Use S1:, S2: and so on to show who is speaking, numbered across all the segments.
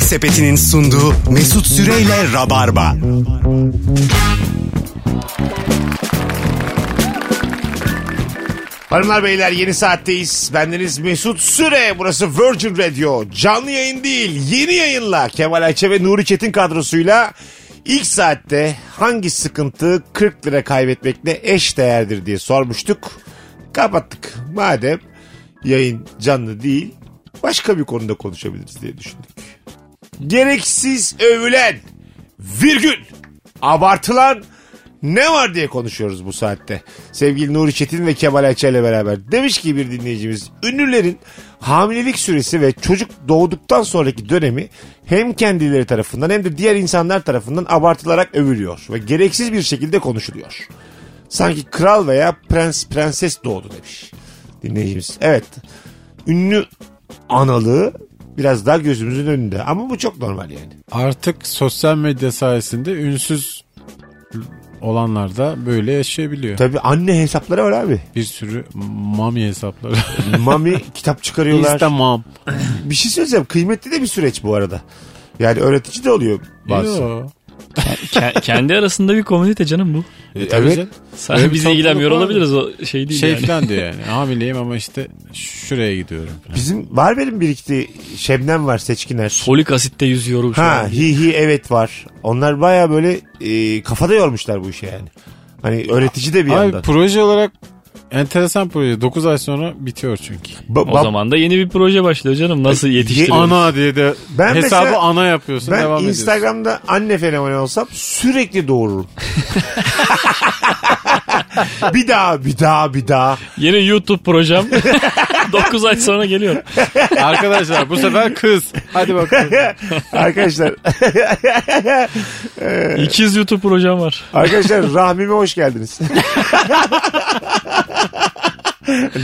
S1: Sepeti'nin sunduğu Mesut Süreyle Rabarba.
S2: Hanımlar beyler yeni saatteyiz. Bendeniz Mesut Süre. Burası Virgin Radio. Canlı yayın değil yeni yayınla Kemal Ayçe ve Nuri Çetin kadrosuyla ilk saatte hangi sıkıntı 40 lira kaybetmekle eş değerdir diye sormuştuk. Kapattık. Madem yayın canlı değil başka bir konuda konuşabiliriz diye düşündük. Gereksiz övülen virgül abartılan ne var diye konuşuyoruz bu saatte. Sevgili Nuri Çetin ve Kemal Ayça ile beraber. Demiş ki bir dinleyicimiz ünlülerin hamilelik süresi ve çocuk doğduktan sonraki dönemi hem kendileri tarafından hem de diğer insanlar tarafından abartılarak övülüyor ve gereksiz bir şekilde konuşuluyor. Sanki kral veya prens prenses doğdu demiş dinleyicimiz. Evet ünlü analığı biraz daha gözümüzün önünde ama bu çok normal yani.
S3: Artık sosyal medya sayesinde ünsüz olanlar da böyle yaşayabiliyor.
S2: Tabii anne hesapları var abi.
S3: Bir sürü mami hesapları.
S2: Mami kitap çıkarıyorlar.
S3: Instagram.
S2: Bir şey söyleyeceğim. Kıymetli de bir süreç bu arada. Yani öğretici de oluyor bazı. E,
S3: Yo.
S4: Ke- kendi arasında bir komünite canım bu.
S2: Evet.
S3: Öyle
S4: Sadece
S3: bir
S4: bizi
S3: topluluk
S4: ilgilenmiyor
S3: var mı?
S4: olabiliriz o şey değil
S3: E, Şey
S4: yani.
S3: falan diyor yani. Hamileyim ama işte şuraya gidiyorum. Falan.
S2: Bizim var benim birikti Şebnem var Seçkiner.
S4: Folik asitte yüzüyorum şu
S2: Ha
S4: ha,
S2: hi hi evet var. Onlar baya böyle e, kafada yormuşlar bu işe yani. Hani öğretici de bir
S3: Abi
S2: yandan.
S3: proje olarak enteresan proje. 9 ay sonra bitiyor çünkü.
S2: Ba-
S4: O
S2: ba-
S4: zaman da yeni bir proje başlıyor canım. Nasıl yetiştiriyoruz?
S3: Ana diye de
S2: Ben
S3: hesabı
S2: mesela-
S3: ana yapıyorsun
S2: Ben
S3: devam ediyorsun.
S2: Instagram'da anne fenomeni olsam sürekli doğururum. bir daha bir daha bir daha.
S4: Yeni YouTube projem. 9 ay sonra geliyor.
S3: Arkadaşlar bu sefer kız. Hadi bakalım.
S2: Arkadaşlar
S4: İkiz YouTube projem var.
S2: Arkadaşlar rahmime hoş geldiniz.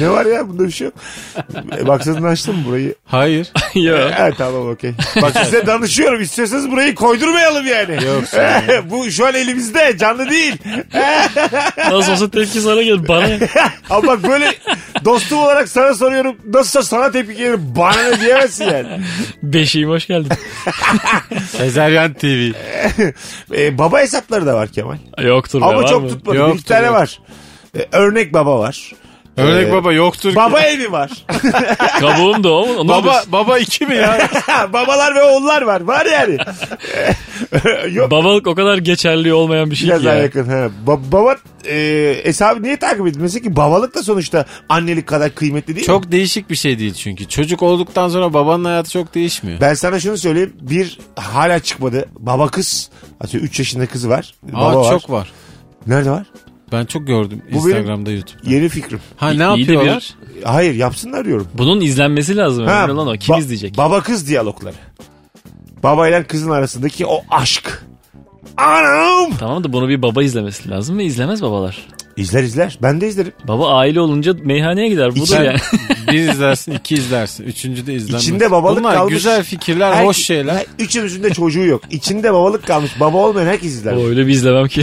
S2: ne var ya bunda bir şey yok. Baksanız açtım mı burayı?
S3: Hayır.
S4: ya.
S2: Evet tamam okey. Bak size danışıyorum istiyorsanız burayı koydurmayalım yani. E,
S3: Yok,
S2: Bu şu an elimizde canlı değil.
S4: Nasıl olsa tepki sana gelir. Bana
S2: Ama bak böyle dostum olarak sana soruyorum nasılsa sana tepki gelir bana ne diyemezsin yani.
S4: beşiğim hoş geldin.
S3: Sezeryan TV.
S2: Ee, baba hesapları da var Kemal.
S4: Yoktur be
S2: Ama
S4: var
S2: çok
S4: mı?
S2: tutmadı.
S3: Yoktur,
S2: bir iki tane
S3: yok.
S2: var. Ee, örnek baba var.
S3: Örnek
S2: Ee,
S3: baba yoktur. ki.
S2: Baba evi var.
S4: Kabuğum da o mu? Onu
S3: Baba,
S4: baba.
S3: baba iki mi ya?
S2: Babalar ve oğullar var. Var yani. Yok.
S4: Babalık o kadar geçerli olmayan bir şey
S2: Biraz
S4: ki
S2: daha
S4: ya.
S2: yakın. Ha. Ba- baba e, hesabı niye takip edilmesi ki? Babalık da sonuçta annelik kadar kıymetli değil mi?
S3: Çok değişik bir şey değil çünkü. Çocuk olduktan sonra babanın hayatı çok değişmiyor.
S2: Ben sana şunu söyleyeyim. Bir hala çıkmadı. Baba kız. Atıyorum 3 yaşında kızı var.
S3: Aa
S2: baba var.
S3: çok var.
S2: Nerede var?
S3: Ben çok gördüm
S2: benim-
S3: Instagram'da YouTube.
S2: Yeni fikrim.
S3: Ha
S4: İyi
S3: ne
S4: de bir
S3: yapıyorlar?
S2: Hayır yapsınlar diyorum.
S4: Bunun izlenmesi lazım.
S2: Ha,
S4: Önemli olan o. Kim
S2: ba-
S4: izleyecek?
S2: Baba kız diyalogları. Baba ile kızın arasındaki o aşk. Anam.
S4: Tamam da bunu bir baba izlemesi lazım ve izlemez babalar.
S2: İzler izler. Ben de izlerim.
S4: Baba aile olunca meyhaneye gider. Bu da
S3: Sen
S4: yani.
S3: bir izlersin, iki izlersin. Üçüncü de izlenmez.
S2: İçinde babalık
S3: Bunlar
S2: kalmış.
S3: güzel fikirler,
S2: Her-
S3: hoş şeyler.
S2: Üçümüzün de çocuğu yok. İçinde babalık kalmış. Baba olmayan herkes izler.
S4: O öyle bir izlemem ki.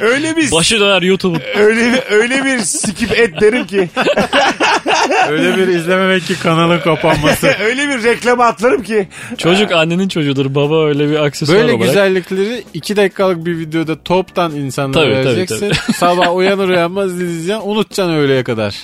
S2: Öyle bir
S4: Başı döner YouTube'un.
S2: öyle bir, öyle bir skip et derim ki.
S3: Öyle bir izlememek ki kanalın kapanması.
S2: öyle bir reklama atlarım ki.
S4: Çocuk annenin çocuğudur. Baba öyle bir aksesuar
S3: Böyle
S4: olarak.
S3: güzellikleri iki dakikalık bir videoda toptan insanlara
S4: Tabii, tabii,
S3: vereceksin. Sabah uyanır uyanmaz izleyeceksin. Unutacaksın öğleye kadar.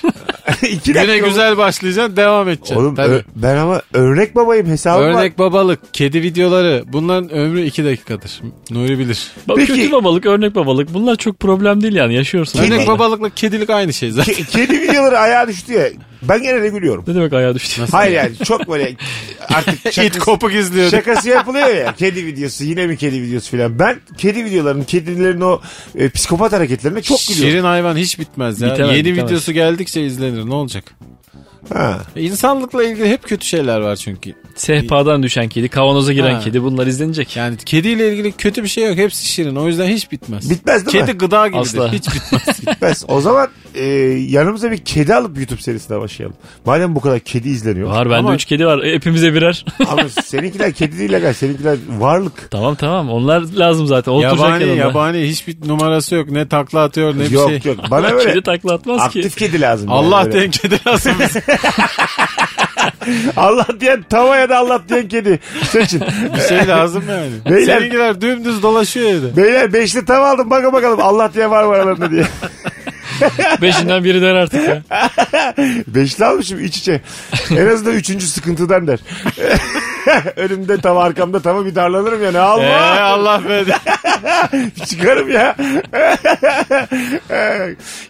S2: İki
S3: Güne
S2: dakika.
S3: güzel başlayacaksın devam edeceksin.
S2: Oğlum
S3: Tabii.
S2: ö- ben ama örnek babayım hesabım var.
S3: Örnek babalık, kedi videoları bunların ömrü 2 dakikadır. Nuri bilir.
S4: Bak,
S2: Peki-
S4: Kötü babalık, örnek babalık. Bunlar çok problem değil yani. Yaşıyorsun.
S3: Örnek
S4: Bunlarla.
S3: babalıkla kedilik aynı şey zaten.
S2: Ke- Kedi videoları ayağa düştü ya. Ben gene de gülüyorum.
S4: Ne demek ayağa düştü?
S2: Hayır yani çok böyle artık
S3: İt
S2: şakası,
S3: kopuk izliyor.
S2: şakası yapılıyor ya. Kedi videosu yine mi kedi videosu filan. Ben kedi videolarının kedilerin o e, psikopat hareketlerine çok gülüyorum.
S3: Şirin hayvan hiç bitmez ya.
S4: Bitemez,
S3: Yeni
S4: bitemez.
S3: videosu geldikçe izlenir ne olacak?
S2: Ha.
S3: E, İnsanlıkla ilgili hep kötü şeyler var çünkü.
S4: Sehpadan düşen kedi, kavanoza giren
S3: Ha.
S4: kedi bunlar izlenecek.
S3: Yani kediyle ilgili kötü bir şey yok. Hepsi şirin. O yüzden hiç bitmez.
S2: Bitmez değil mi?
S3: Kedi gıda gibidir.
S4: Asla.
S3: Hiç bitmez.
S2: Bitmez. O zaman e, yanımıza bir kedi alıp YouTube serisine başlayalım. Madem bu kadar kedi izleniyor.
S4: Var bende
S3: Ama-
S4: üç kedi var. E, Hepimize birer.
S2: Ama seninkiler kedi değil aga. Seninkiler varlık.
S4: tamam tamam. Onlar lazım zaten. Oturacak
S3: yabani
S4: yanında.
S3: yabani hiçbir numarası yok. Ne takla atıyor ne
S2: yok
S3: bir şey.
S2: yok. Bana böyle
S4: Kedi takla atmaz ki.
S2: aktif kedi lazım. yani
S3: Allah
S2: böyle.
S3: denk kedi lazım.
S2: Allah diyen tava ya da Allah diyen kedi. Seçin.
S3: Bir şey lazım yani.
S2: Beyler-
S3: Seninkiler dümdüz dolaşıyor evde.
S2: Beyler beşli tava aldım bakın bakalım Allah diye var mı aralarında diye.
S4: Beşinden biri der artık ya.
S2: Beşli almışım iç içe. En azından üçüncü sıkıntıdan der. Önümde tava arkamda tava bir darlanırım yani
S3: Ee,
S2: Allah
S3: Allah be.
S2: çıkarım ya.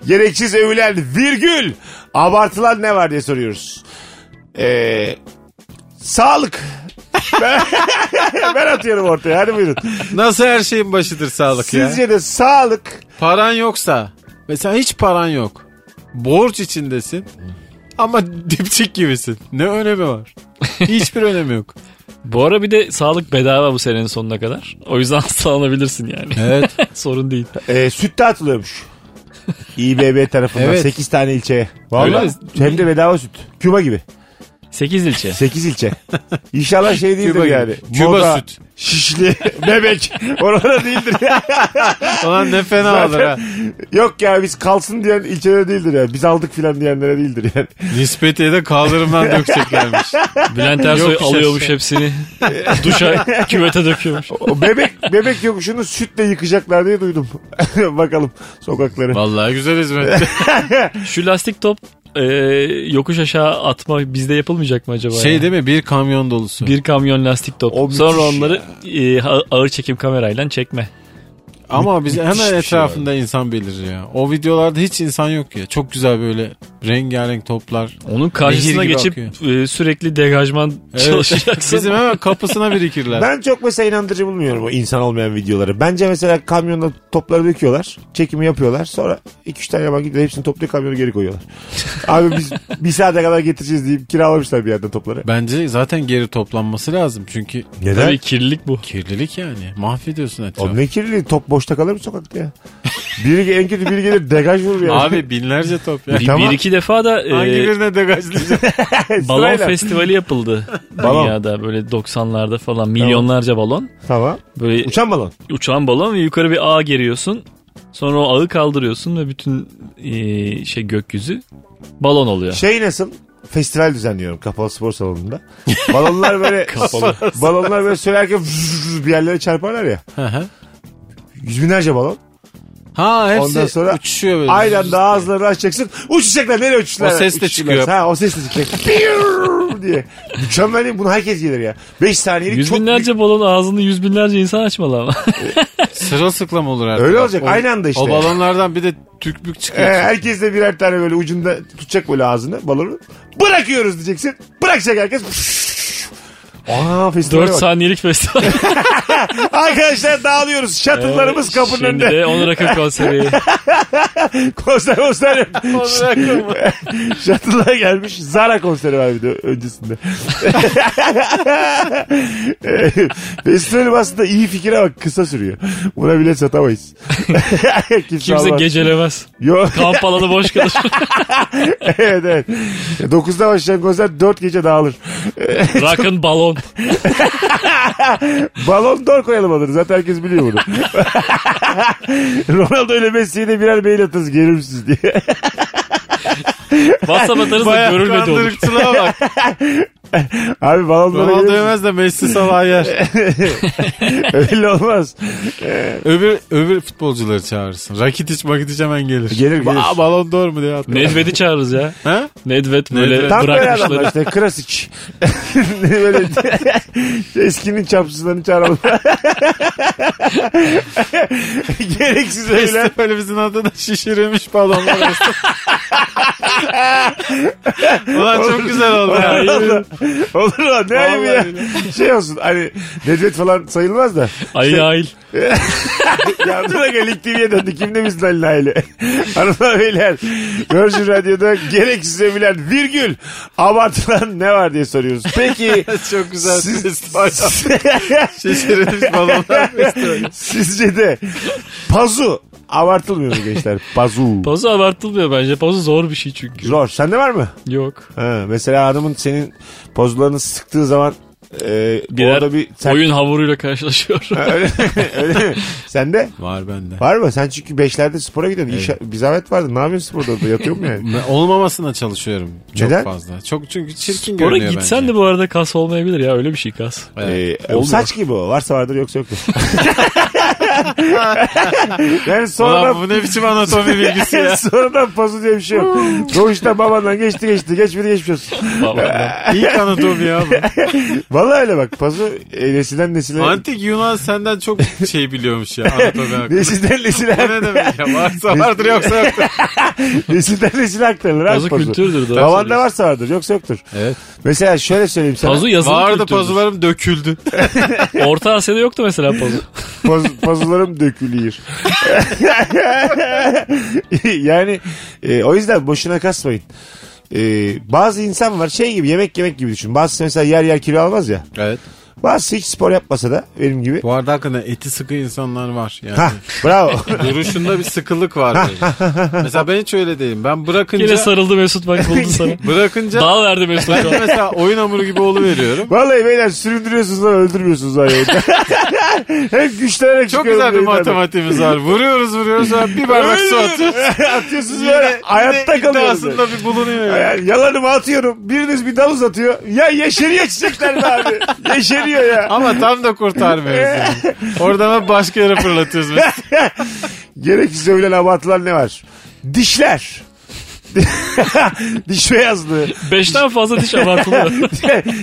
S2: Gereksiz övülen virgül abartılan ne var diye soruyoruz. Ee, sağlık. Ben, ben atıyorum ortaya hadi buyurun.
S3: Nasıl her şeyin başıdır sağlık ya?
S2: Sizce de sağlık
S3: Paran yoksa mesela hiç paran yok. Borç içindesin ama dipçik gibisin. Ne önemi var? Hiçbir önemi yok.
S4: Bu ara bir de sağlık bedava bu senenin sonuna kadar. O yüzden hastalanabilirsin yani.
S3: Evet.
S4: Sorun değil.
S2: E, süt dağıtılıyormuş. İBB tarafından
S3: Evet.
S2: 8 tane ilçeye.
S3: Öyle
S2: Vallahi
S3: mi?
S2: hem de bedava süt. Küba gibi.
S4: 8 ilçe.
S2: 8 ilçe. İnşallah şey değildir
S3: Küba gibi.
S2: yani.
S3: Küba
S2: Moda,
S3: süt.
S2: Şişli, bebek. Orada değildir.
S3: Ulan ne fena olur ha.
S2: Zaten Yok ya biz kalsın diyen ilçelere değildir ya. Biz aldık filan diyenlere değildir yani.
S3: Nispetiye de kaldırımdan dökeceklermiş.
S4: Bülent Ersoy
S3: Yok bir şey.
S4: alıyormuş hepsini. Duşa küvete döküyormuş.
S2: O bebek bebek yokuşunu sütle yıkacaklar diye duydum. Bakalım sokakları.
S3: Vallahi güzel hizmet.
S4: Şu lastik top e, yokuş aşağı atma bizde yapılmayacak mı acaba? ya?
S3: Şey değil mi? Bir kamyon dolusu.
S4: Bir kamyon lastik top.
S2: O müthiş
S4: Sonra onları e, a- ağır çekim kamerayla çekme.
S3: Ama biz
S2: Müthiş
S3: hemen
S2: bir şey
S3: etrafında insan belir ya. O videolarda hiç insan yok ya. Çok güzel böyle rengarenk toplar.
S4: Onun
S3: Nehir
S4: karşısına
S3: gibi
S4: geçip e, sürekli degajman çalışacaksın.
S3: Bizim hemen kapısına birikirler.
S2: Ben çok mesela inandırıcı bulmuyorum o insan olmayan videoları. Bence mesela kamyonda topları döküyorlar. Çekimi yapıyorlar. Sonra 2-3 tane yabancı gidiyor. Hepsini topluyor kamyonu geri koyuyorlar. Abi biz bir saate kadar getireceğiz deyip kiralamışlar bir yerden topları.
S3: Bence zaten geri toplanması lazım. Çünkü
S2: Neden?
S4: Tabii kirlilik bu.
S3: kirlilik yani. Mahvediyorsun etrafı.
S2: O ne kirli top boşta kalır mı sokakta ya? Biri en kötü biri gelir degaj vurur yani.
S3: Abi binlerce top ya.
S4: Bir,
S2: E, tamam.
S4: bir iki defa da e,
S3: Hangi birine degajlayacaksın?
S4: balon
S2: Sırayla.
S4: festivali yapıldı.
S2: Balon.
S4: Dünyada böyle 90'larda falan milyonlarca balon.
S2: Tamam.
S4: Böyle
S2: Uçan balon.
S4: uçan balon ve yukarı bir ağ geriyorsun. Sonra o ağı kaldırıyorsun ve bütün e, şey gökyüzü balon oluyor.
S2: Şey nasıl? Festival düzenliyorum kapalı spor salonunda. Balonlar böyle balonlar böyle söylerken bir yerlere çarparlar ya.
S3: Hı hı.
S2: Yüz binlerce balon.
S3: ha hepsi
S2: Ondan sonra
S3: uçuşuyor böyle.
S2: Aynen daha ağızlarını açacaksın. Uçacaklar nereye uçuşlar?
S3: O ses de
S2: Uçuşurlar.
S3: çıkıyor.
S2: Ha o ses de çıkıyor. Piyuuu diye. Mükemmel değil mi? Bunu herkes gelir ya. 5 saniyelik
S4: Yüz
S2: çok
S4: binlerce balon ağzını yüz binlerce insan açmalı ama.
S3: Sırılsıklam olur artık.
S2: Öyle
S3: Bak,
S2: olacak,
S3: o-
S2: aynı anda işte.
S3: O balonlardan bir de tükbük
S2: Ee,
S3: çıkıyor.
S2: herkes de birer tane böyle ucunda tutacak böyle ağzını balonu. Bırakıyoruz diyeceksin. Bırakacak herkes. Aa festivale
S4: 4
S2: bak.
S4: saniyelik festival.
S2: Arkadaşlar dağılıyoruz. Şatıllarımız kapının
S4: Şimdi
S2: önünde.
S4: de Onur Akın konseri.
S2: Konser konser yok.
S3: Onur
S2: Şatıllar gelmiş. Zara konseri var bir de öncesinde. Eee, Festivalim aslında iyi fikire bak kısa sürüyor. Buna bile satamayız. Kimse,
S4: Kimse
S2: almaz.
S4: gecelemez.
S2: Yok
S4: Kamp alanı boş kalır.
S2: evet evet. 9'da başlayan konser 4 gece dağılır.
S4: Rock'ın balon.
S2: Balon dor koyalım adını. Zaten herkes biliyor bunu. Ronaldo ile Messi'ye de birer mail atarız gelir misiniz diye.
S4: WhatsApp atarız da
S3: Bayağı
S4: görülmedi olur.
S3: kandırıkçılığa bak.
S2: Abi balonlara
S3: Ronaldo
S2: gelir
S3: yemez de Messi Salah yer.
S2: misiniz? Öyle olmaz.
S3: öbür, öbür futbolcuları çağırırsın. Rakitic Makitic hemen gelir.
S2: Gelir, gelir.
S3: Aa, balon doğru mu diye atlıyor.
S4: Nedved'i çağırırız ya.
S3: Ha?
S4: Nedved böyle
S3: Nedved.
S2: Tam böyle adamlar
S4: bırakmışları.
S2: işte Krasic. böyle eskinin çapsızlarını çağıralım. Gereksiz öyle.
S3: Festivalimizin adı da şişirilmiş balonlar olsun. Ulan çok güzel oldu. ya.
S2: Olur lan ne ayıbı
S3: Vallahi
S2: ya. Şey olsun hani Nedved falan sayılmaz da.
S4: Ayın Ail.
S2: Yardıra elektriğe döndü. Kim demiş lan aile? Hanımlar beyler. Virgin Radyo'da gereksiz övülen virgül abartılan ne var diye soruyoruz. Peki
S3: çok güzel
S2: Siz-
S3: festival. şişirilmiş balonlar festivali.
S2: sizce de pazu abartılmıyor mu gençler? Pazu.
S4: Pozu abartılmıyor bence. Pozu zor bir şey çünkü.
S2: Zor. Sende var mı?
S4: Yok.
S2: Ha, mesela hanımın senin pozlarını sıktığı zaman Ee,
S4: Birer
S2: orada bir sen,
S4: oyun hamuruyla karşılaşıyor.
S2: öyle, öyle mi? Sen de
S3: Var bende.
S2: var mı? Sen çünkü beşlerde spora gidiyordun. İş, bir zahmet vardı. Ne yapıyorsun sporda? Orada Yatıyor mu yani?
S3: Ben Olmamasına çalışıyorum. Çok
S2: Neden?
S3: fazla. Çok çünkü çirkin
S4: Oraya
S3: görünüyor
S4: gitsen
S3: bence.
S4: de bu arada kas olmayabilir ya öyle bir şey kas.
S3: Evet.
S2: Ee, o saç gibi o. Varsa vardır yoksa yoktur. yani sonra
S3: Ulan bu ne biçim anatomi bilgisi ya.
S2: Sonradan pozu diye bir şey yok. Doğuştan babandan geçti geçti. Geçmedi geçmiş olsun.
S4: Babamdan.
S3: İlk anatomi ya bu.
S2: Valla öyle bak pozu e, nesilden nesile.
S3: Antik Yunan senden çok şey biliyormuş ya anatomi hakkında.
S2: Nesilden nesile,
S3: Bu ne demek ya? Varsa vardır yoksa yoktur.
S2: nesilden nesile aktarılır abi
S4: Pazu
S2: pozu.
S4: kültürdür, doğru
S2: Babanda
S4: söylüyorsun.
S2: varsa vardır yoksa yoktur.
S3: Evet.
S2: Mesela şöyle söyleyeyim sana.
S4: Pazu yazılı
S3: Vardı
S4: kültürdür.
S3: pazularım döküldü.
S4: Orta Asya'da yoktu mesela pazu.
S2: Poz, pozularım dökülüyor. yani e, o yüzden boşuna kasmayın. E, bazı insan var şey gibi yemek yemek gibi düşün. Bazısı mesela yer yer kilo almaz ya.
S3: Evet.
S2: Bazısı hiç spor yapmasa da benim gibi.
S3: Bu arada hakikaten eti sıkı insanlar var. Yani
S2: Hah bravo.
S3: duruşunda bir sıkılık var. böyle. Mesela ben hiç öyle değilim. Ben
S4: Yine
S3: bırakınca
S4: sarıldı Mesut bak buldu sana.
S3: bırakınca
S4: Dağ verdi Mesut şu an.
S3: mesela oyun hamuru gibi olu veriyorum.
S2: Vallahi beyler süründürüyorsunuz lan öldürmüyorsunuz lan yayında. Hep güçlenerek
S3: Çok
S2: çıkıyorum
S3: güzel bir
S2: yayından.
S3: matematiğimiz var. Vuruyoruz vuruyoruz sonra bir bardak su atıyoruz.
S2: Atıyorsunuz böyle hayatta kalıyorsunuz.
S3: aslında bir şey bulunuyor. ya.
S2: Yani yalanımı atıyorum. Biriniz bir dal uzatıyor. Ya yeşeriyor çiçekler be abi. yeşeriyor ya.
S3: Ama tam da kurtarmıyoruz yani. Oradan hep başka yere fırlatıyoruz. mesela.
S2: Gereksiz övülen abartılar ne var? Dişler. Diş beyazlığı.
S4: Beşten fazla diş abartılıyor.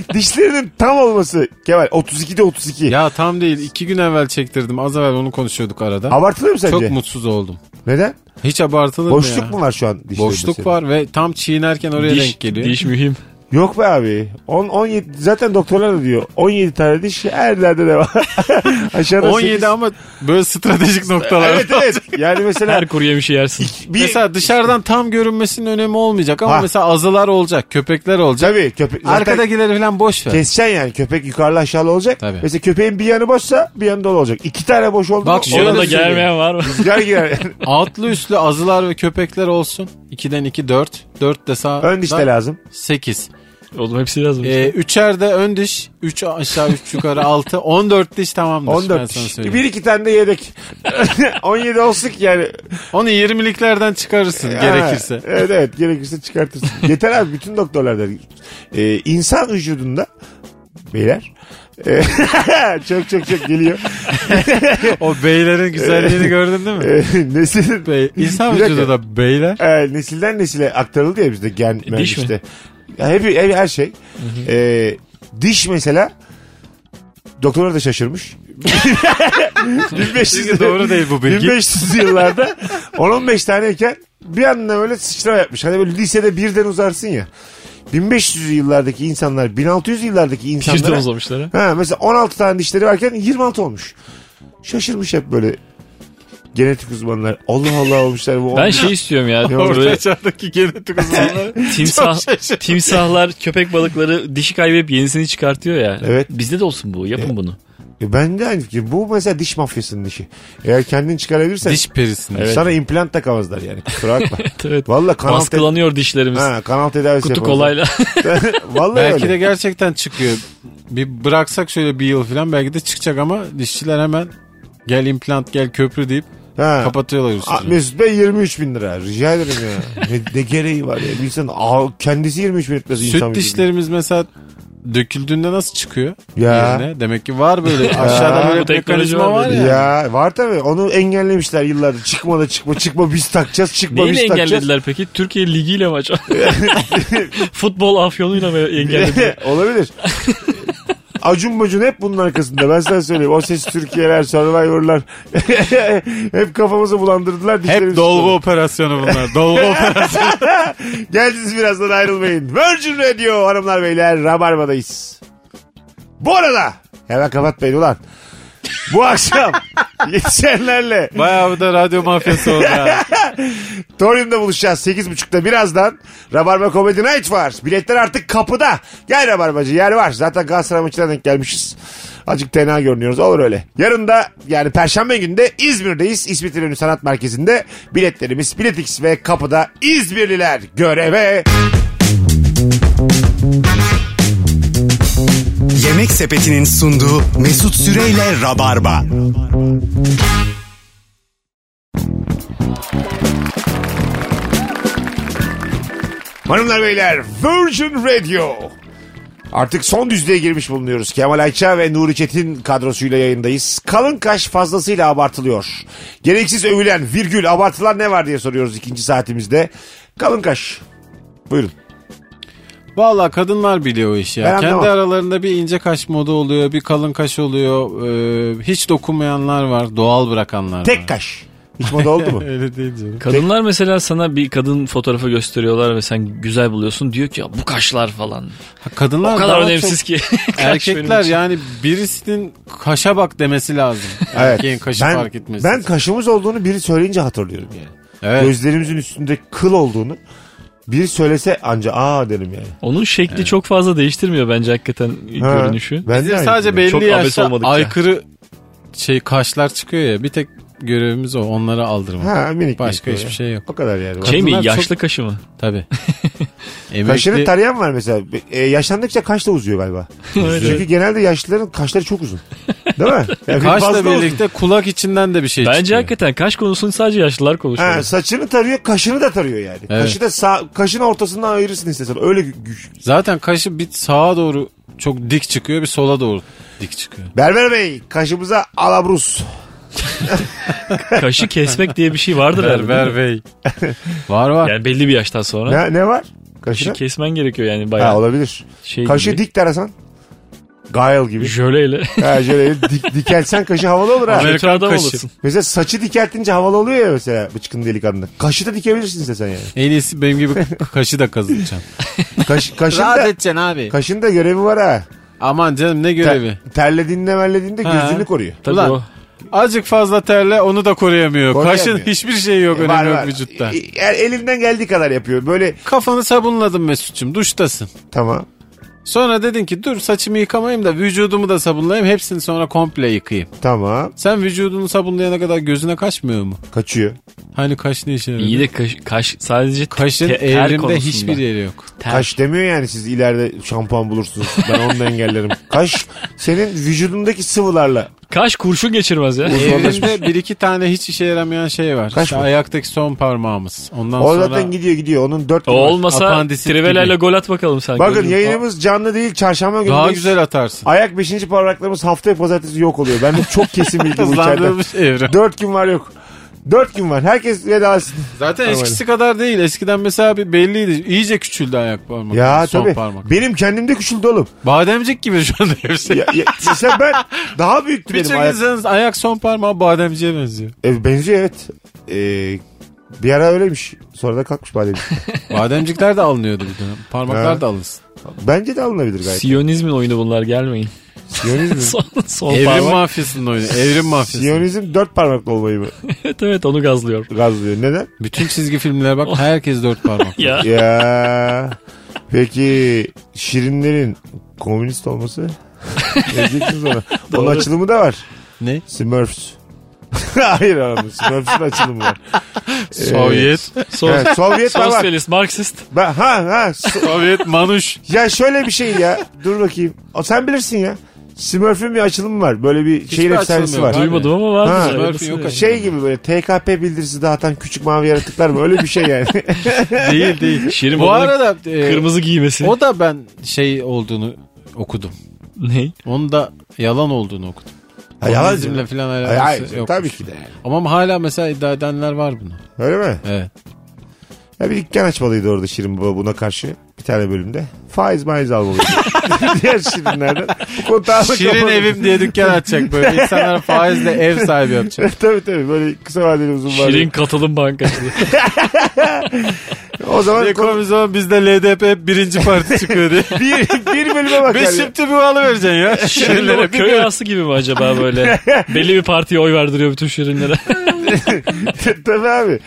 S2: Dişlerinin tam olması. Kemal 32'de 32.
S3: ya tam değil. iki gün evvel çektirdim. Az evvel onu konuşuyorduk arada.
S2: Abartılır mı sence?
S3: Çok mutsuz oldum.
S2: Neden?
S3: Hiç abartılır mı
S2: Boşluk
S3: ya?
S2: mu Şey var şu an dişlerinde
S3: Boşluk
S2: senin?
S3: var ve tam çiğnerken oraya
S4: diş,
S3: denk geliyor.
S4: diş mühim.
S2: Yok be abi. 10 17 zaten doktorlar da diyor. 17 tane diş her yerde de var. Aşağıda
S3: 17
S2: sekiz-
S3: ama böyle stratejik noktalar.
S2: Evet evet. Yani mesela
S4: Her kuru yemişi yersin.
S2: bir
S3: Mesela dışarıdan tam görünmesinin önemi olmayacak ama
S2: Ha.
S3: mesela azılar olacak, köpekler olacak.
S2: tabii köpek zaten
S3: Arkadakileri falan boş ver.
S2: keseceksin yani köpek yukarıda aşağıda olacak.
S3: Tabii.
S2: Mesela köpeğin bir yanı boşsa bir yanı dolu olacak. İki tane boş oldu.
S3: Bak
S2: mu,
S3: şöyle
S2: ona
S4: Ona
S2: da
S4: da
S2: söyleyeyim.
S4: gelmeyen var mı?
S2: Rüzgar girer.
S3: Altlı üstlü azılar ve köpekler olsun. 2'den 2 4. 4 de sağ.
S2: Ön diş de lazım.
S3: 8.
S4: Oğlum hepsi lazım.
S3: Ee, üçer de ön diş. 3 aşağı 3 yukarı 6. 14 diş tamamdır. 14 ben
S2: 14
S3: sana
S2: diş.
S3: söyleyeyim.
S2: Bir iki tane de yedek. 17 olsun yani.
S3: Onu 20'liklerden çıkarırsın gerekirse.
S2: Ha, evet evet gerekirse çıkartırsın. Yeter abi bütün doktorlar der. Ee, insan vücudunda beyler e, çok çok çok geliyor.
S3: O beylerin güzelliğini gördün değil mi?
S2: Ee, nesil
S3: Bey, insan
S2: Bir dakika.
S3: vücudu da beyler.
S2: Ee, nesilden nesile aktarıldı ya bizde gen
S4: E, diş mi?
S2: işte. Ya hep, hep her şey. Ee, diş mesela doktorlar da şaşırmış. 1500
S3: Doğru değil bu bilgi.
S2: 1500 yıllarda 10-15 taneyken bir anda böyle sıçrama yapmış. Hani böyle lisede birden uzarsın ya. 1500 yıllardaki insanlar 1600 yıllardaki
S4: Kirden
S2: insanlara
S4: uzamışlar ha.
S2: ha, mesela 16 tane dişleri varken 26 olmuş. Şaşırmış hep böyle genetik uzmanlar. Allah Allah olmuşlar bu.
S4: Ben
S2: olmuş.
S4: şey istiyorum ya.
S3: Orta
S4: Böyle
S3: çağdaki genetik uzmanları.
S4: timsah,
S3: Çok şaşırdım.
S4: timsahlar köpek balıkları dişi kaybedip yenisini çıkartıyor ya.
S2: Evet.
S4: Bizde de olsun bu. Yapın bunu.
S2: E ben de aynı fikir. Bu mesela diş mafyasının işi. Eğer kendin çıkarabilirsen
S3: Diş perisini.
S2: sana implant takamazlar yani. Kusura bakma.
S4: Evet.
S2: Valla kanal, te-
S4: Baskılanıyor dişlerimiz.
S2: ha, kanal tedavisi
S4: Kutu
S2: yapamazlar.
S4: kolayla.
S2: Vallahi
S3: Belki
S2: öyle.
S3: de gerçekten çıkıyor. Bir bıraksak şöyle bir yıl falan belki de çıkacak ama dişçiler hemen gel implant gel köprü deyip
S2: Ha.
S3: kapatıyorlar
S2: Aa,
S3: üstünü.
S2: Mesut Bey 23 bin lira. Rica ederim ya. ne, ne gereği var ya. Bir insan aa, kendisi 23 bin etmesi insan
S3: Süt dişlerimiz mesela döküldüğünde nasıl çıkıyor?
S2: Ya.
S3: Yerine? Demek ki var böyle aşağıda böyle
S4: Bu
S3: bir
S4: teknoloji
S3: mekanizma
S4: var
S3: var
S2: vücudu.
S3: ya.
S2: Ya var tabii. Onu engellemişler yıllardır. Çıkma da çıkma çıkma biz takacağız. Çıkma
S4: Neyle
S2: biz takacağız.
S4: engellediler peki? Türkiye Ligi ile mi acaba? Futbol afyonuyla mı engellediler?
S2: Olabilir. Acun Bacun hep bunun arkasında. Ben sana söyleyeyim. O ses Türkiye'ler, Survivor'lar. hep kafamızı bulandırdılar.
S3: Hep
S2: dişlerimizi
S3: dolgu operasyonu bunlar. Dolgu operasyonu.
S2: tuttular. Geldiniz birazdan ayrılmayın. Virgin Radio hanımlar beyler. Rabarba'dayız. Bu arada hemen kapatmayın ulan. Bu akşam yetişenlerle
S3: Bayağı bu da radyo mafyası oldu ya.
S2: Torium'da buluşacağız 8.30'da birazdan. Rabarba Comedy Night var. Biletler artık kapıda. Gel Rabarbacı yer var. Zaten Galatasaray maçına denk gelmişiz. Azıcık tenha görünüyoruz. Olur öyle. Yarın da yani Perşembe günde İzmir'deyiz. İsmet İnönü Sanat Merkezi'nde biletlerimiz Biletix ve kapıda İzmirliler göreve.
S1: Yemek Sepeti'nin sunduğu Mesut Süreyle Rabarba.
S2: Hanımlar beyler Virgin Radio. Artık son düzlüğe girmiş bulunuyoruz. Kemal Ayça ve Nuri Çetin kadrosuyla yayındayız. Kalın kaş fazlasıyla abartılıyor. Gereksiz övülen virgül abartılan ne var diye soruyoruz ikinci saatimizde. Kalın kaş. Buyurun.
S3: Valla kadınlar biliyor o işi ya.
S2: Ben
S3: Kendi
S2: anlamam.
S3: aralarında bir ince kaş modu oluyor, bir kalın kaş oluyor. Ee, hiç dokunmayanlar var, doğal bırakanlar var.
S2: Tek kaş. Hiç moda oldu mu?
S3: Öyle değil canım.
S4: Kadınlar mesela sana bir kadın fotoğrafı gösteriyorlar ve sen güzel buluyorsun. Diyor ki ya bu kaşlar falan.
S3: Ha, Kadınlar
S4: O kadar
S3: daha
S4: önemsiz
S3: çok-
S4: ki. Kaş benim
S3: Erkekler
S4: için.
S3: yani birisinin kaşa bak demesi lazım. Erkeğin kaşı
S2: ben,
S3: fark etmesi.
S2: Ben kaşımız olduğunu biri söyleyince hatırlıyorum yani.
S3: evet.
S2: Gözlerimizin üstünde kıl olduğunu biri söylese anca aa derim yani.
S4: Onun şekli çok fazla değiştirmiyor bence hakikaten
S2: Ha,
S4: görünüşü.
S2: ben de
S3: Bize
S2: aynı
S3: sadece
S2: düşünüyorum.
S3: belli
S4: Çok abes
S3: yaşta
S4: olmadıkça.
S3: aykırı şey kaşlar çıkıyor ya. Bir tek görevimiz o. Onları aldırmak.
S2: Ha, minik
S3: Başka
S2: minik
S3: hiçbir
S2: böyle.
S3: şey yok.
S2: O kadar yani.
S4: Şey mi
S3: Kadınlar
S4: yaşlı kaşı mı?
S3: Tabii. Emekli-
S2: Kaşını tarayan var mesela. Be- e, yaşlandıkça kaş da uzuyor galiba. Çünkü genelde yaşlıların kaşları çok uzun. Değil mi? Yani fazla
S3: E, Kaşla
S2: uzun.
S3: birlikte kulak içinden de bir şey
S4: Bence
S3: çıkıyor.
S4: hakikaten kaş konusunu sadece yaşlılar konuşuyor.
S2: Ha, saçını tarıyor, kaşını da tarıyor yani.
S3: Evet.
S2: Kaşı da sağ, kaşın ortasından ayırırsın istesen. Öyle gü- güç.
S3: Zaten kaşı bir sağa doğru çok dik çıkıyor bir sola doğru dik çıkıyor.
S2: Berber Bey, kaşımıza alabrus.
S4: Kaşı kesmek diye bir şey vardır herhalde. değil mi?
S3: Berber bey. var var.
S4: Yani belli bir yaştan sonra.
S2: Ne, ne var? Kaşına?
S4: Kaşı kesmen gerekiyor yani
S2: Ha,
S4: bayağı.
S2: olabilir.
S4: şey
S2: kaşı
S4: gibi.
S2: dik tarasan. Gael gibi.
S4: Jöleyle.
S2: ha, şöyle dik, dikelsen kaşı havalı olur ha.
S3: Amerikan
S4: Kötü adam
S3: kaşı.
S4: olasın.
S2: Mesela saçı dikeltince havalı oluyor ya mesela bıçkın delikanlı. Kaşı da dikebilirsin istesen yani.
S3: En iyisi benim gibi kaşı da kazıtacağım.
S2: Kaş, kaşın,
S3: Rahat
S2: da,
S3: edeceksin abi.
S2: kaşın da görevi var ha.
S3: Aman canım ne
S2: Ter-
S3: görevi.
S2: terlediğinde merlediğinde
S3: Ha.
S2: gözünü koruyor.
S4: Tabii
S3: Ulan,
S4: o.
S3: Azıcık fazla terle onu da koruyamıyor.
S2: Koruyamıyor.
S3: Kaşın hiçbir şey yok
S2: Var,
S3: önemi yok
S2: var.
S3: vücutta.
S2: E- e- elinden geldiği kadar yapıyor. Böyle
S3: Kafanı sabunladın Mesut'cum duştasın.
S2: tamam.
S3: Sonra dedin ki dur saçımı yıkamayayım da vücudumu da sabunlayayım hepsini sonra komple yıkayayım.
S2: Tamam.
S3: Sen vücudunu sabunlayana kadar gözüne kaçmıyor mu?
S2: Kaçıyor.
S3: Hani kaş ne işe yarıyor?
S4: İyi de kaş, kaş sadece te-
S3: Kaşın
S4: ter
S3: evrimde
S4: konusunda.
S3: hiçbir yeri yok.
S4: Ter.
S2: Kaş demiyor yani siz ileride şampuan bulursunuz. Ben onu da engellerim. Kaş senin vücudundaki sıvılarla.
S4: Kaş kurşun geçirmez ya.
S3: Evrimde bir iki tane hiç işe yaramayan şey var.
S2: Kaş
S3: İşte
S2: mı?
S3: ayaktaki son parmağımız. Ondan
S2: O
S3: sonra
S2: zaten gidiyor gidiyor. Onun dört
S4: O
S2: yılı var.
S4: olmasa
S3: Apandisit
S4: Trivela'yla
S3: gibi.
S4: gol at bakalım sen.
S2: Bakın
S4: Görürüm.
S2: yayınımız canlı değil. Çarşamba günü.
S3: daha güzel atarsın.
S2: Ayak beşinci parmaklarımız haftaya pazartesi yok oluyor. Ben de çok kesin bilgi bu içeriden.
S3: Hızlandırılmış evrim.
S2: Dört gün var yok. Dört gün var. Herkes veda etsin.
S3: Zaten eskisi kadar değil. Eskiden mesela bir belliydi. İyice küçüldü ayak parmak.
S2: Ya
S3: son
S2: tabii.
S3: parmak.
S2: Benim kendimde küçüldü oğlum.
S3: Bademcik gibi şu anda hepsi.
S2: Ya, ya, mesela ben daha büyüktü
S3: bir
S2: benim ayak.
S3: çekilseniz ayak son parmağı bademciye benziyor.
S2: E, benziyor evet. E, bir ara öyleymiş. Sonra da kalkmış badem.
S3: Bademcikler de alınıyordu bir dönem. Parmaklar
S2: Ha.
S3: da alınsın.
S2: Bence de alınabilir gayet.
S4: Siyonizmin oyunu bunlar gelmeyin.
S2: Siyonizm.
S4: son son
S3: Evrim
S4: parmak.
S3: mafyasının oyunu. Evrim mafyası.
S2: Siyonizm dört parmaklı olmayı mı
S4: Evet evet onu gazlıyor.
S2: gazlıyor? Neden?
S3: Bütün çizgi filmlere bak herkes dört parmak.
S4: Ya
S2: Ya. Peki Şirinlerin komünist olması? ne diyeceksiniz ona? Onun
S4: Doğru.
S2: açılımı da var.
S3: ne?
S2: Smurfs. Hayır abi Smurfs'ın açılımı var.
S3: Sovyet.
S4: son,
S2: Evet, Sovyet var bak.
S4: sosyalist, Marksist.
S2: Ben, ha ha. So-
S3: Sovyet manuş.
S2: ya şöyle bir şey ya. Dur bakayım. O, sen bilirsin ya. Smurf'ün bir açılımı var. Böyle bir şehir
S3: açılımı
S2: efsanesi
S3: yok
S2: var.
S3: abi.
S4: Duymadım ama
S2: Ha.
S4: vardır.
S3: Smurf'ün
S4: Hayırlısı.
S3: yok açık.
S2: Şey gibi böyle TKP bildirisi dağıtan küçük mavi yaratıklar mı? Öyle bir şey yani.
S3: değil değil.
S4: Şirin
S3: Bu
S4: babanın
S3: arada e,
S4: kırmızı giymesi.
S3: o da ben şey olduğunu okudum.
S4: Ne?
S3: Onun da yalan olduğunu okudum.
S2: Ha, yalan
S3: Bizimle falan
S2: Ay, ay,
S3: alakası yok.
S2: tabii ki de. yani.
S3: Ama hala mesela iddia edenler var bunu.
S2: Öyle mi?
S3: Evet.
S2: Ya bir dükkan açmalıydı orada Şirin Baba buna karşı. Bir tane bölümde. Faiz maiz almalıydı. Diğer Şirinlerden. Bu kontağı da
S3: Şirin
S2: kapalı.
S3: evim diye dükkan açacak böyle. İnsanlara faizle ev sahibi yapacak.
S2: tabii tabii böyle kısa vadeli uzun vadeli.
S4: Şirin katılım bankası.
S2: O zaman konu-
S3: Ekonomi zaman bizde LDP hep birinci parti çıkıyor diye.
S2: bir, bir bölüme bakar.
S3: Beş
S2: ya.
S3: şimdi bir alıvereceksin ya.
S4: Şirinlere
S3: Şirinlere bir
S4: köy arası gibi mi acaba böyle? Belli bir partiye oy verdiriyor bütün şirinlere.
S2: tabii abi.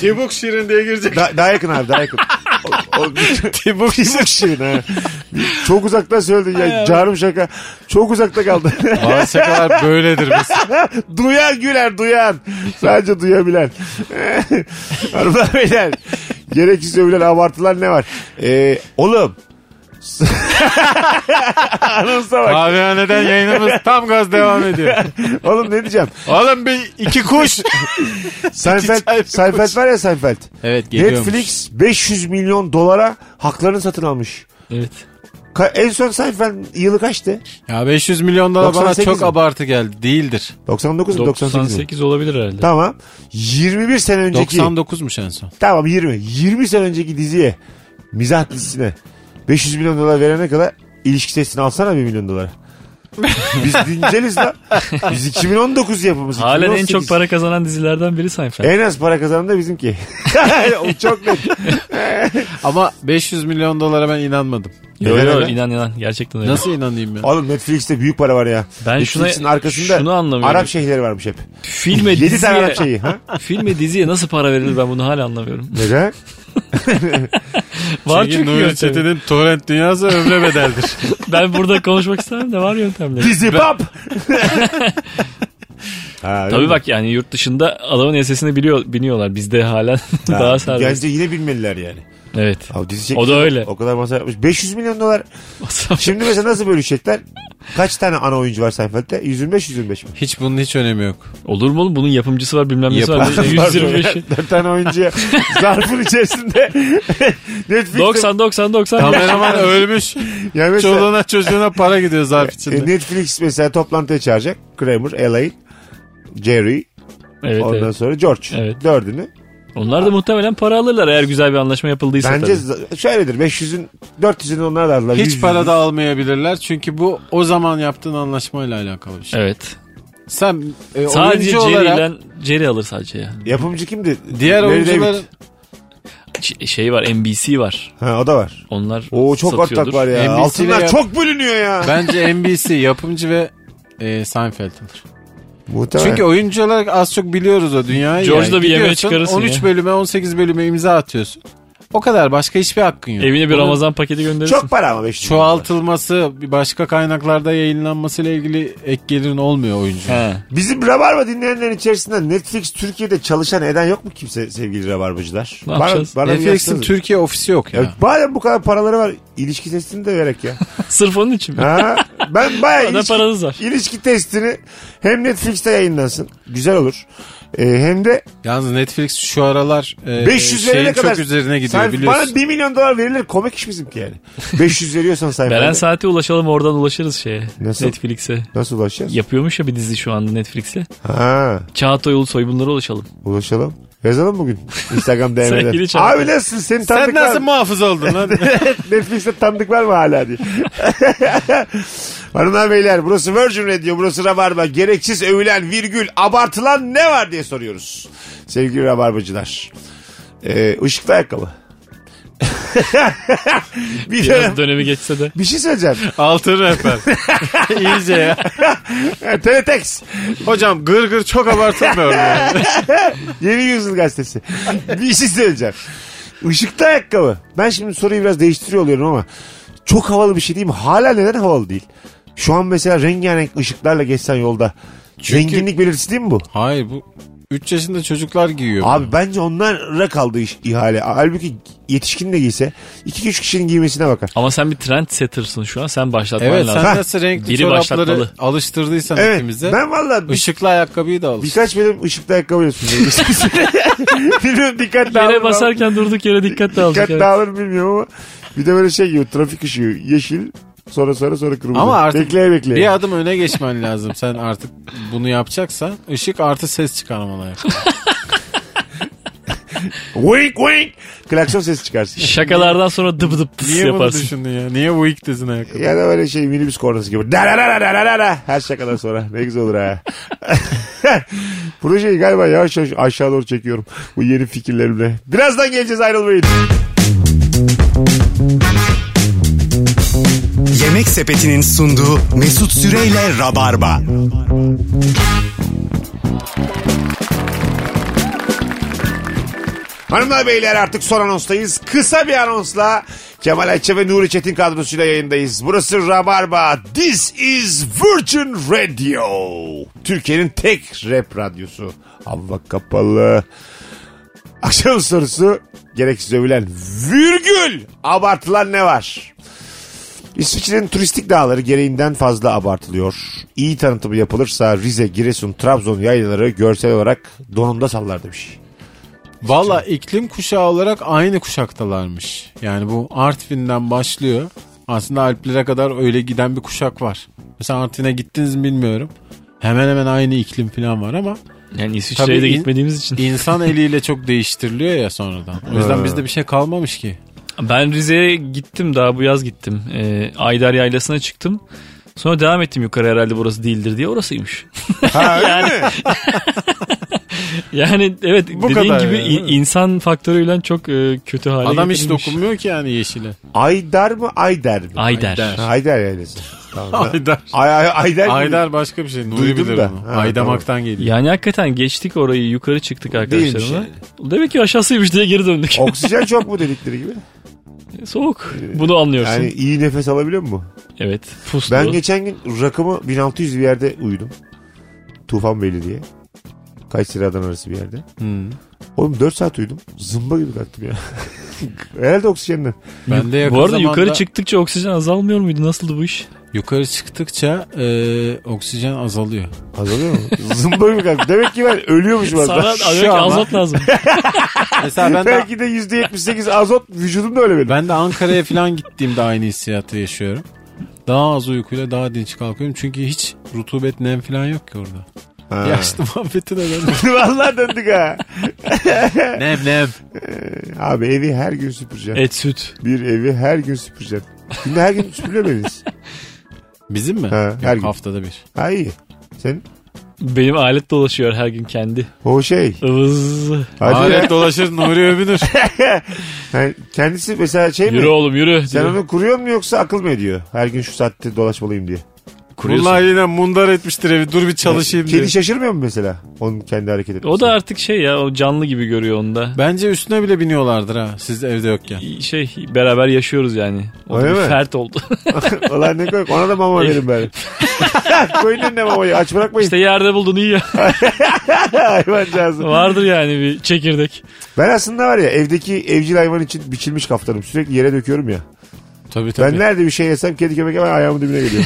S3: Tibuk Şirin diye girecek.
S2: Da- daha yakın abi daha yakın. O, o,
S3: Tibuk
S2: Tibuk Şirin ha. Çok uzaktan söyledin ya. Canım şaka. Çok uzakta kaldı.
S3: Bazı şakalar böyledir mesela.
S2: duyan güler duyan. Sadece duyabilen. Hanımlar beyler. Gereksiz övülen abartılar ne var? Ee, oğlum Anımsa bak.
S3: Kahvehaneden yayınımız tam gaz devam ediyor.
S2: Oğlum ne diyeceğim?
S3: Oğlum bir iki kuş.
S2: Seinfeld, Seinfeld var ya Seinfeld.
S3: evet geliyormuş.
S2: Netflix 500 milyon dolara haklarını satın almış.
S4: Evet.
S2: Ka- en son Seinfeld yılı kaçtı?
S3: Ya 500 milyon dolar bana
S2: 98
S3: çok
S2: mi?
S3: abartı geldi. Değildir.
S2: 99 mu 98, 98 mi?
S4: 98 olabilir herhalde.
S2: Tamam. 21 sene önceki.
S3: 99'muş en son.
S2: Tamam 20. 20 sene önceki diziye mizah dizisine 500 milyon dolar verene kadar ilişki testini alsana 1 milyon dolara. Biz dinceliz lan. Biz 2019 yapımız.
S4: Halen en
S2: 2018.
S4: çok para kazanan dizilerden biri Seinfeld.
S2: En az para kazanan da bizimki. o çok net.
S3: Ama 500 milyon dolara ben inanmadım.
S4: Yo
S2: Neden
S4: yo
S2: E, öyle?
S4: inan inan gerçekten öyle.
S3: Nasıl inanayım ya?
S2: Oğlum Netflix'te büyük para var ya.
S4: Ben
S2: Netflix'in
S4: şuna-
S2: arkasında
S4: şunu anlamıyorum. E,
S2: Arap şeyhleri varmış hep.
S4: Filme
S2: 7 tane şey-
S4: diziye,
S2: Arap şeyhi. Ha?
S4: filme diziye nasıl para verilir ben bunu hala anlamıyorum.
S2: Neden?
S4: Var
S3: Çünkü
S4: çünkü
S3: Nuri
S4: yöntemi.
S3: Çetin'in torrent dünyası ömre bedeldir.
S4: Ben burada konuşmak istemem de var yöntemleri.
S2: Dizi pop. ha, öyle
S4: Tabii
S2: mi?
S4: bak yani yurt dışında adamın ensesini biliyor, biniyorlar. Bizde halen
S2: Ha,
S4: daha serbest.
S2: Bence yine bilmeliler yani.
S4: Evet.
S2: Abi dizi çekmiş.
S4: O da öyle.
S2: O kadar masa yapmış. 500 milyon dolar. Şimdi mesela nasıl bölüşecekler? Kaç tane ana oyuncu var Seinfeld'de? 125 125 mi?
S3: Hiç bunun hiç önemi yok.
S4: Olur mu oğlum? Bunun yapımcısı var bilmem nesi var.
S3: Yapımcısı
S4: 125'i.
S2: 4 tane oyuncuya zarfın içerisinde Netflix'te
S4: 90 90 90.
S3: Kameraman ölmüş.
S2: Ya mesela-
S3: Çoluğuna çocuğuna para gidiyor zarf
S2: E,
S3: içinde.
S2: Netflix mesela toplantıya çağıracak. Kramer, Elaine, Jerry,
S4: Evet,
S2: ondan
S4: evet.
S2: sonra George.
S4: Evet.
S2: Dördünü.
S4: Onlar da muhtemelen para alırlar eğer güzel bir anlaşma yapıldıysa
S2: Bence z- şöyledir. 500'ün 400'ünü onlar da aldılar.
S3: Hiç para da almayabilirler çünkü bu o zaman yaptığın anlaşmayla alakalı bir şey.
S4: tabii. Evet.
S3: Sen e,
S4: Sadece
S3: oyuncu
S4: Jerry
S3: olarak
S4: ile Jerry alır sadece ya.
S2: Yapımcı kimdi?
S3: diğer
S2: Larry
S3: oyuncular
S2: David.
S4: Ş- şey var NBC var.
S2: Ha, o da var.
S4: Onlar
S2: Oo çok
S4: satıyordur.
S2: ortak var ya.
S3: NBC 'le
S2: Altınlar
S3: yap-
S2: çok bölünüyor ya.
S3: bence NBC yapımcı ve e, Seinfeld'dir.
S2: Muhtemelen.
S3: Çünkü oyuncu olarak az çok biliyoruz o dünyayı.
S4: George da bir yemeğe
S3: Gidiyorsun,
S4: çıkarırsın
S3: 13
S4: ya.
S3: bölüme 18 bölüme imza atıyorsun. O kadar başka hiçbir hakkın yok.
S4: Evine bir
S3: Bunun
S4: Ramazan paketi gönderirsin.
S2: çok para ama 500.
S3: çoğaltılması, bir başka kaynaklarda yayınlanmasıyla ilgili ek gelirin olmuyor oyuncu.
S4: He.
S2: Bizim Rabarba dinleyenler içerisinde Netflix Türkiye'de çalışan eden yok mu kimse sevgili Rabarbacılar?
S4: Ne yapacağız?
S2: bir
S3: Netflix'in
S2: yazsanıza.
S3: Türkiye ofisi yok ya.
S2: Ya madem bu kadar paraları var ilişki testini de vererek ya.
S4: Sırf onun için mi?
S2: Ha? Ben bayağı
S4: Kadar
S2: ilişki,
S4: paranız var.
S2: ilişki testini hem Netflix'te yayınlansın. Güzel olur. Ee, hem de
S3: Yalnız Netflix şu aralar e,
S2: 500
S3: şeyin
S2: verene kadar.
S3: çok üzerine gidiyor
S2: Sen-
S3: biliyorsun.
S2: Bana 1 milyon dolar verilir komik iş bizimki yani. 500 veriyorsan sayfada.
S4: Beren Saat'e ulaşalım oradan ulaşırız şeye.
S2: Nasıl?
S4: Netflix'e.
S2: Nasıl ulaşacağız?
S4: Yapıyormuş ya bir dizi şu anda Netflix'e.
S2: Ha,
S4: Çağatay Ulusoy bunlara ulaşalım.
S2: ulaşalım. Yazalım bugün. Instagram
S4: Sevgili
S2: DM'den.
S4: Çağatay.
S2: Abi nasılsın? Senin tanıdık
S3: Sen nasıl
S2: var mı?
S3: muhafız oldun lan?
S2: Netflix'te tanıdık var mı hala diye. Hanımlar beyler burası Virgin Radio burası Rabarba. Gereksiz övülen virgül abartılan ne var diye soruyoruz. Sevgili Rabarbacılar. Ee, ışıklı ayakkabı. bir, dönem-
S4: Biraz dönemi geçse de.
S2: bir şey söyleyeceğim.
S3: Altın rehber. İyice ya.
S2: Teletext.
S3: Hocam gır gır çok abartılmıyor. yani.
S2: Yeni Yüzyıl Gazetesi. bir şey söyleyeceğim. Işıklı ayakkabı. Ben şimdi soruyu biraz değiştiriyor oluyorum ama çok havalı bir şey değil mi? Hala neden havalı değil? Şu an mesela rengarenk ışıklarla geçsen yolda. Zenginlik belirtisi değil mi bu?
S3: Hayır bu 3 yaşında çocuklar giyiyor.
S2: Abi bence onlara kaldı iş, ihale. Halbuki yetişkin de giyse 2-3 kişinin giymesine bakar.
S4: Ama sen bir trend setter'sın şu an. Sen başlatman
S3: evet
S4: lazım.
S3: sen nasıl renkli
S4: Biri
S3: çorapları
S4: başlatmalı.
S3: alıştırdıysan
S2: Evet
S3: hepimize.
S2: ben valla bir-
S3: Işıklı ayakkabıyı da alıştır.
S2: birkaç benim ışıklı ayakkabıyla sürdüm. Bilmiyorum dikkatli
S4: Yere
S2: aldım.
S4: basarken durduk yere dikkat dağılacak.
S2: Dikkat
S4: evet.
S2: dağılır bilmiyorum ama bir de böyle şey gibi trafik ışığı yeşil sonra sonra sonra kırmızı.
S3: Ama artık
S2: bekleye bekleye.
S3: Bir adım öne geçmen lazım. Sen artık bunu yapacaksan ışık artı ses çıkarmalı. ayakkabı.
S2: Wink wink. Klakson sesi çıkarsın.
S4: Şakalardan sonra dıp dıp pıs
S3: Niye bunu
S4: yaparsın.
S3: düşündün ya? Niye bu ilk dizin ayakkabı?
S2: ya da böyle şey minibüs kornası gibi. Da da da da da da da da. Her şakadan sonra. Ne güzel olur ha. Projeyi galiba yavaş yavaş aşağı doğru çekiyorum. Bu yeni fikirlerimle. Birazdan geleceğiz ayrılmayın.
S1: Yemek Sepeti'nin sunduğu Mesut Süreyle Rabarba.
S2: Hanımlar beyler artık son anonstayız. Kısa bir anonsla Kemal Ayça ve Nuri Çetin kadrosuyla yayındayız. Burası Rabarba. This is Virgin Radio. Türkiye'nin tek rap radyosu. Hava kapalı. Akşam sorusu gereksiz övülen virgül abartılan ne var? İsviçre'nin turistik dağları gereğinden fazla abartılıyor. İyi tanıtımı yapılırsa Rize, Giresun, Trabzon yaylaları görsel olarak donunda sallar demiş.
S3: Valla iklim kuşağı olarak aynı kuşaktalarmış. Yani bu Artvin'den başlıyor. Aslında Alplere kadar öyle giden bir kuşak var. Mesela Artvin'e gittiniz mi bilmiyorum. Hemen hemen aynı iklim falan var ama
S4: Yani İsviçre'ye
S3: Tabii
S4: de
S3: in-
S4: gitmediğimiz için.
S3: insan eliyle çok değiştiriliyor ya sonradan. O yüzden bizde bir şey kalmamış ki.
S4: Ben Rize'ye gittim daha bu yaz gittim. Ee, Aydar Yaylası'na çıktım. Sonra devam ettim yukarı herhalde burası değildir diye orasıymış.
S2: Ha öyle mi?
S4: Yani evet
S3: Bu
S4: dediğin
S3: kadar
S4: gibi
S3: yani,
S4: i-
S3: değil mi?
S4: insan faktörüyle çok e, kötü hale
S3: Adam hiç
S4: getirilmiş.
S3: dokunmuyor ki yani yeşile.
S2: Aydar mı Ayder mi?
S4: Aydar.
S3: Aydar.
S2: Ha, Ayder yaylası. Tamam.
S3: Aydar.
S2: Ay, ay, Ayder mi?
S3: Aydar başka bir şey. Nuri
S2: Duydum
S3: bilir
S2: da.
S3: onu.
S2: Ha,
S3: Aydamaktan geliyor.
S4: Yani hakikaten geçtik orayı yukarı çıktık
S2: Değilmiş
S4: arkadaşlarımla.
S3: şey.
S4: Demek ki aşağısıymış diye geri döndük.
S2: Oksijen çok mu dedikleri gibi?
S4: Soğuk. Bunu anlıyorsun.
S2: Yani iyi nefes alabiliyor mu?
S4: evet. Puslu.
S2: Ben geçen gün rakımı 1600 bir yerde uyudum. Tufanbeyli diye. Kayseri-Adana arası bir yerde.
S3: Hı.
S2: Oğlum 4 saat uyudum. Zımba gibi kalktım ya. Herhalde oksijenden.
S3: Ben de yakın
S4: bu arada
S3: zamanda-
S4: yukarı çıktıkça oksijen azalmıyor muydu? Nasıldı bu iş?
S3: Yukarı çıktıkça e, oksijen azalıyor.
S2: Azalıyor mu? Zımba gibi kalktım. Demek ki ben ölüyormuşum
S4: Sana
S2: aslında.
S4: demek ki
S3: ama-
S4: azalt lazım.
S3: Mesela ben de
S2: Belki de %78 azot vücudumda öyle benim.
S3: ben de Ankara'ya falan gittiğimde aynı hissiyatı yaşıyorum. Daha az uykuyla daha dinç kalkıyorum. Çünkü hiç rutubet nem falan yok ki orada.
S2: Ha.
S3: Yaşlı muhabbetine döndüm.
S2: Vallahi döndük ha.
S3: nem nem.
S2: Abi evi her gün süpüreceğim.
S4: Et süt.
S2: Bir evi her gün süpüreceğim. Günde her gün süpürüyor muydunuz?
S3: Bizim mi?
S2: Ha,
S3: Yok,
S2: her gün.
S3: haftada bir.
S2: Ha iyi. Sen
S4: Benim alet dolaşıyor her gün kendi.
S2: o şey.
S4: Ivız.
S2: Hadi ya.
S3: Alet dolaşır Nuri övünür.
S2: Yani kendisi mesela şey
S4: Yürü
S2: mi?
S4: oğlum yürü.
S2: Sen
S4: diyor.
S2: onu kuruyor mu yoksa akıl mı ediyor? Her gün şu saatte dolaşmalıyım diye.
S4: Kuruyorsun.
S3: Bunlar yine mundar etmiştir evi. Dur bir çalışayım diye.
S2: Kedi şey- şaşırmıyor mu mesela? Onun kendi hareket etmesi.
S4: O da artık şey ya o canlı gibi görüyor onu da.
S3: Bence üstüne bile biniyorlardır ha siz evde yokken.
S4: Şey beraber yaşıyoruz yani. O da
S2: Öyle
S4: bir
S2: mi?
S4: fert oldu.
S2: Ulan ne koyayım? Ona da mama verin ben. Koyun önüne mamayı. Aç bırakmayın.
S4: işte yerde buldun iyi ya.
S2: Hayvancağızı.
S4: Vardır yani bir çekirdek.
S2: Ben aslında var ya evdeki evcil hayvan için biçilmiş kaftanım. Sürekli yere döküyorum ya.
S3: Tabii
S2: Ben
S3: tabii.
S2: nerede bir şey yesem kedi köpek hemen ayağımın dibine geliyor.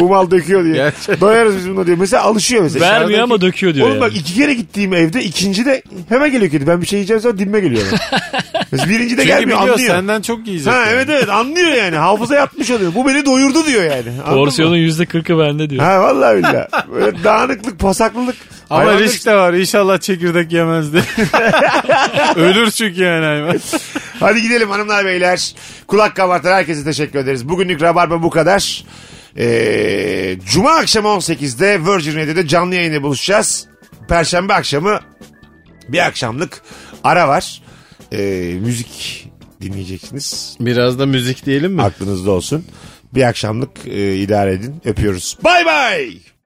S2: Bu mal döküyor diye. Doyarız biz buna diyor. Mesela alışıyor mesela.
S4: Vermiyor ama
S2: Dışarıdaki-
S4: döküyor diyor
S2: Oğlum
S4: yani.
S2: bak iki kere gittiğim evde ikinci de hemen geliyor kedi. Ben bir şey yiyeceğim sonra dibime geliyor. Mesela birinci de
S3: Çünkü
S2: gelmiyor
S3: biliyor
S2: anlıyor.
S3: senden çok yiyecek.
S2: Ha
S3: yani.
S2: evet evet anlıyor yani. Hafıza yapmış oluyor. Bu beni doyurdu diyor yani. Anladın mı?
S4: Porsiyonun yüzde kırkı bende diyor.
S2: Ha vallahi billahi. Böyle dağınıklık, pasaklılık.
S3: Ama
S2: Hayvanlar-
S3: risk de var. İnşallah çekirdek yemez de. Ölür çünkü yani hayvan.
S2: Hadi gidelim hanımlar beyler. Kulak kabartan herkese teşekkür ederiz. Bugünlük Rabarba bu kadar. Ee, Cuma akşamı 18'de Virgin Radio'da canlı yayında buluşacağız. Perşembe akşamı bir akşamlık ara var. Ee, müzik dinleyeceksiniz.
S3: Biraz da müzik diyelim mi?
S2: Aklınızda olsun. Bir akşamlık e, idare edin. Öpüyoruz. Bay bay.